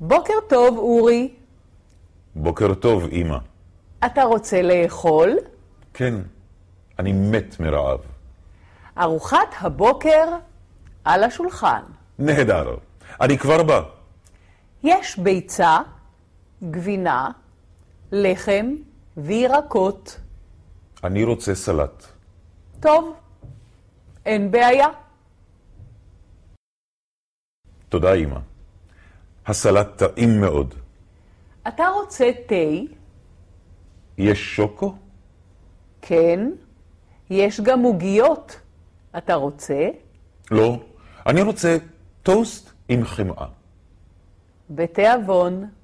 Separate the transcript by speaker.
Speaker 1: בוקר טוב, אורי.
Speaker 2: בוקר טוב, אמא.
Speaker 1: אתה רוצה לאכול?
Speaker 2: כן, אני מת מרעב.
Speaker 1: ארוחת הבוקר על השולחן.
Speaker 2: נהדר, אני כבר בא.
Speaker 1: יש ביצה, גבינה, לחם וירקות.
Speaker 2: אני רוצה סלט.
Speaker 1: טוב, אין בעיה.
Speaker 2: תודה, אמא. הסלט טעים מאוד.
Speaker 1: אתה רוצה תה?
Speaker 2: יש שוקו?
Speaker 1: כן. יש גם עוגיות. אתה רוצה?
Speaker 2: לא. אני רוצה טוסט עם חמאה.
Speaker 1: בתיאבון.